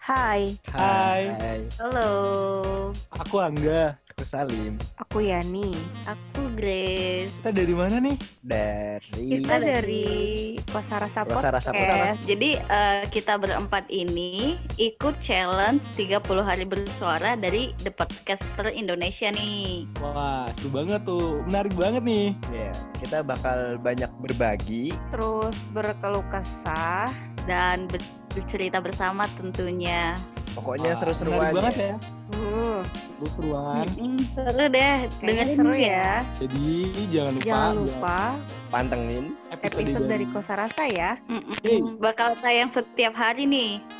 Hai, Hai. halo. Aku Angga. Aku Salim Aku Yani. Aku Grace. Kita dari mana nih? dari Kita dari Rasa Rasa Iya. Rasa Podcast. Rasa Podcast. Jadi eh, kita berempat ini ikut challenge 30 hari bersuara dari The Podcaster Indonesia nih. Wah, seru banget tuh. Menarik banget nih. Ya, kita bakal banyak berbagi. Terus berkeluh kesah. Dan ber- bercerita bersama tentunya. Pokoknya Wah, seru-seruan. Menarik banget ya. ya. Uh, Seru-seruan. Mm-mm, seru deh, kayaknya dengan seru ya. Jadi jangan lupa Jangan buat lupa Pantengin. episode dari Kosa Rasa ya. Hey. Bakal tayang setiap hari nih.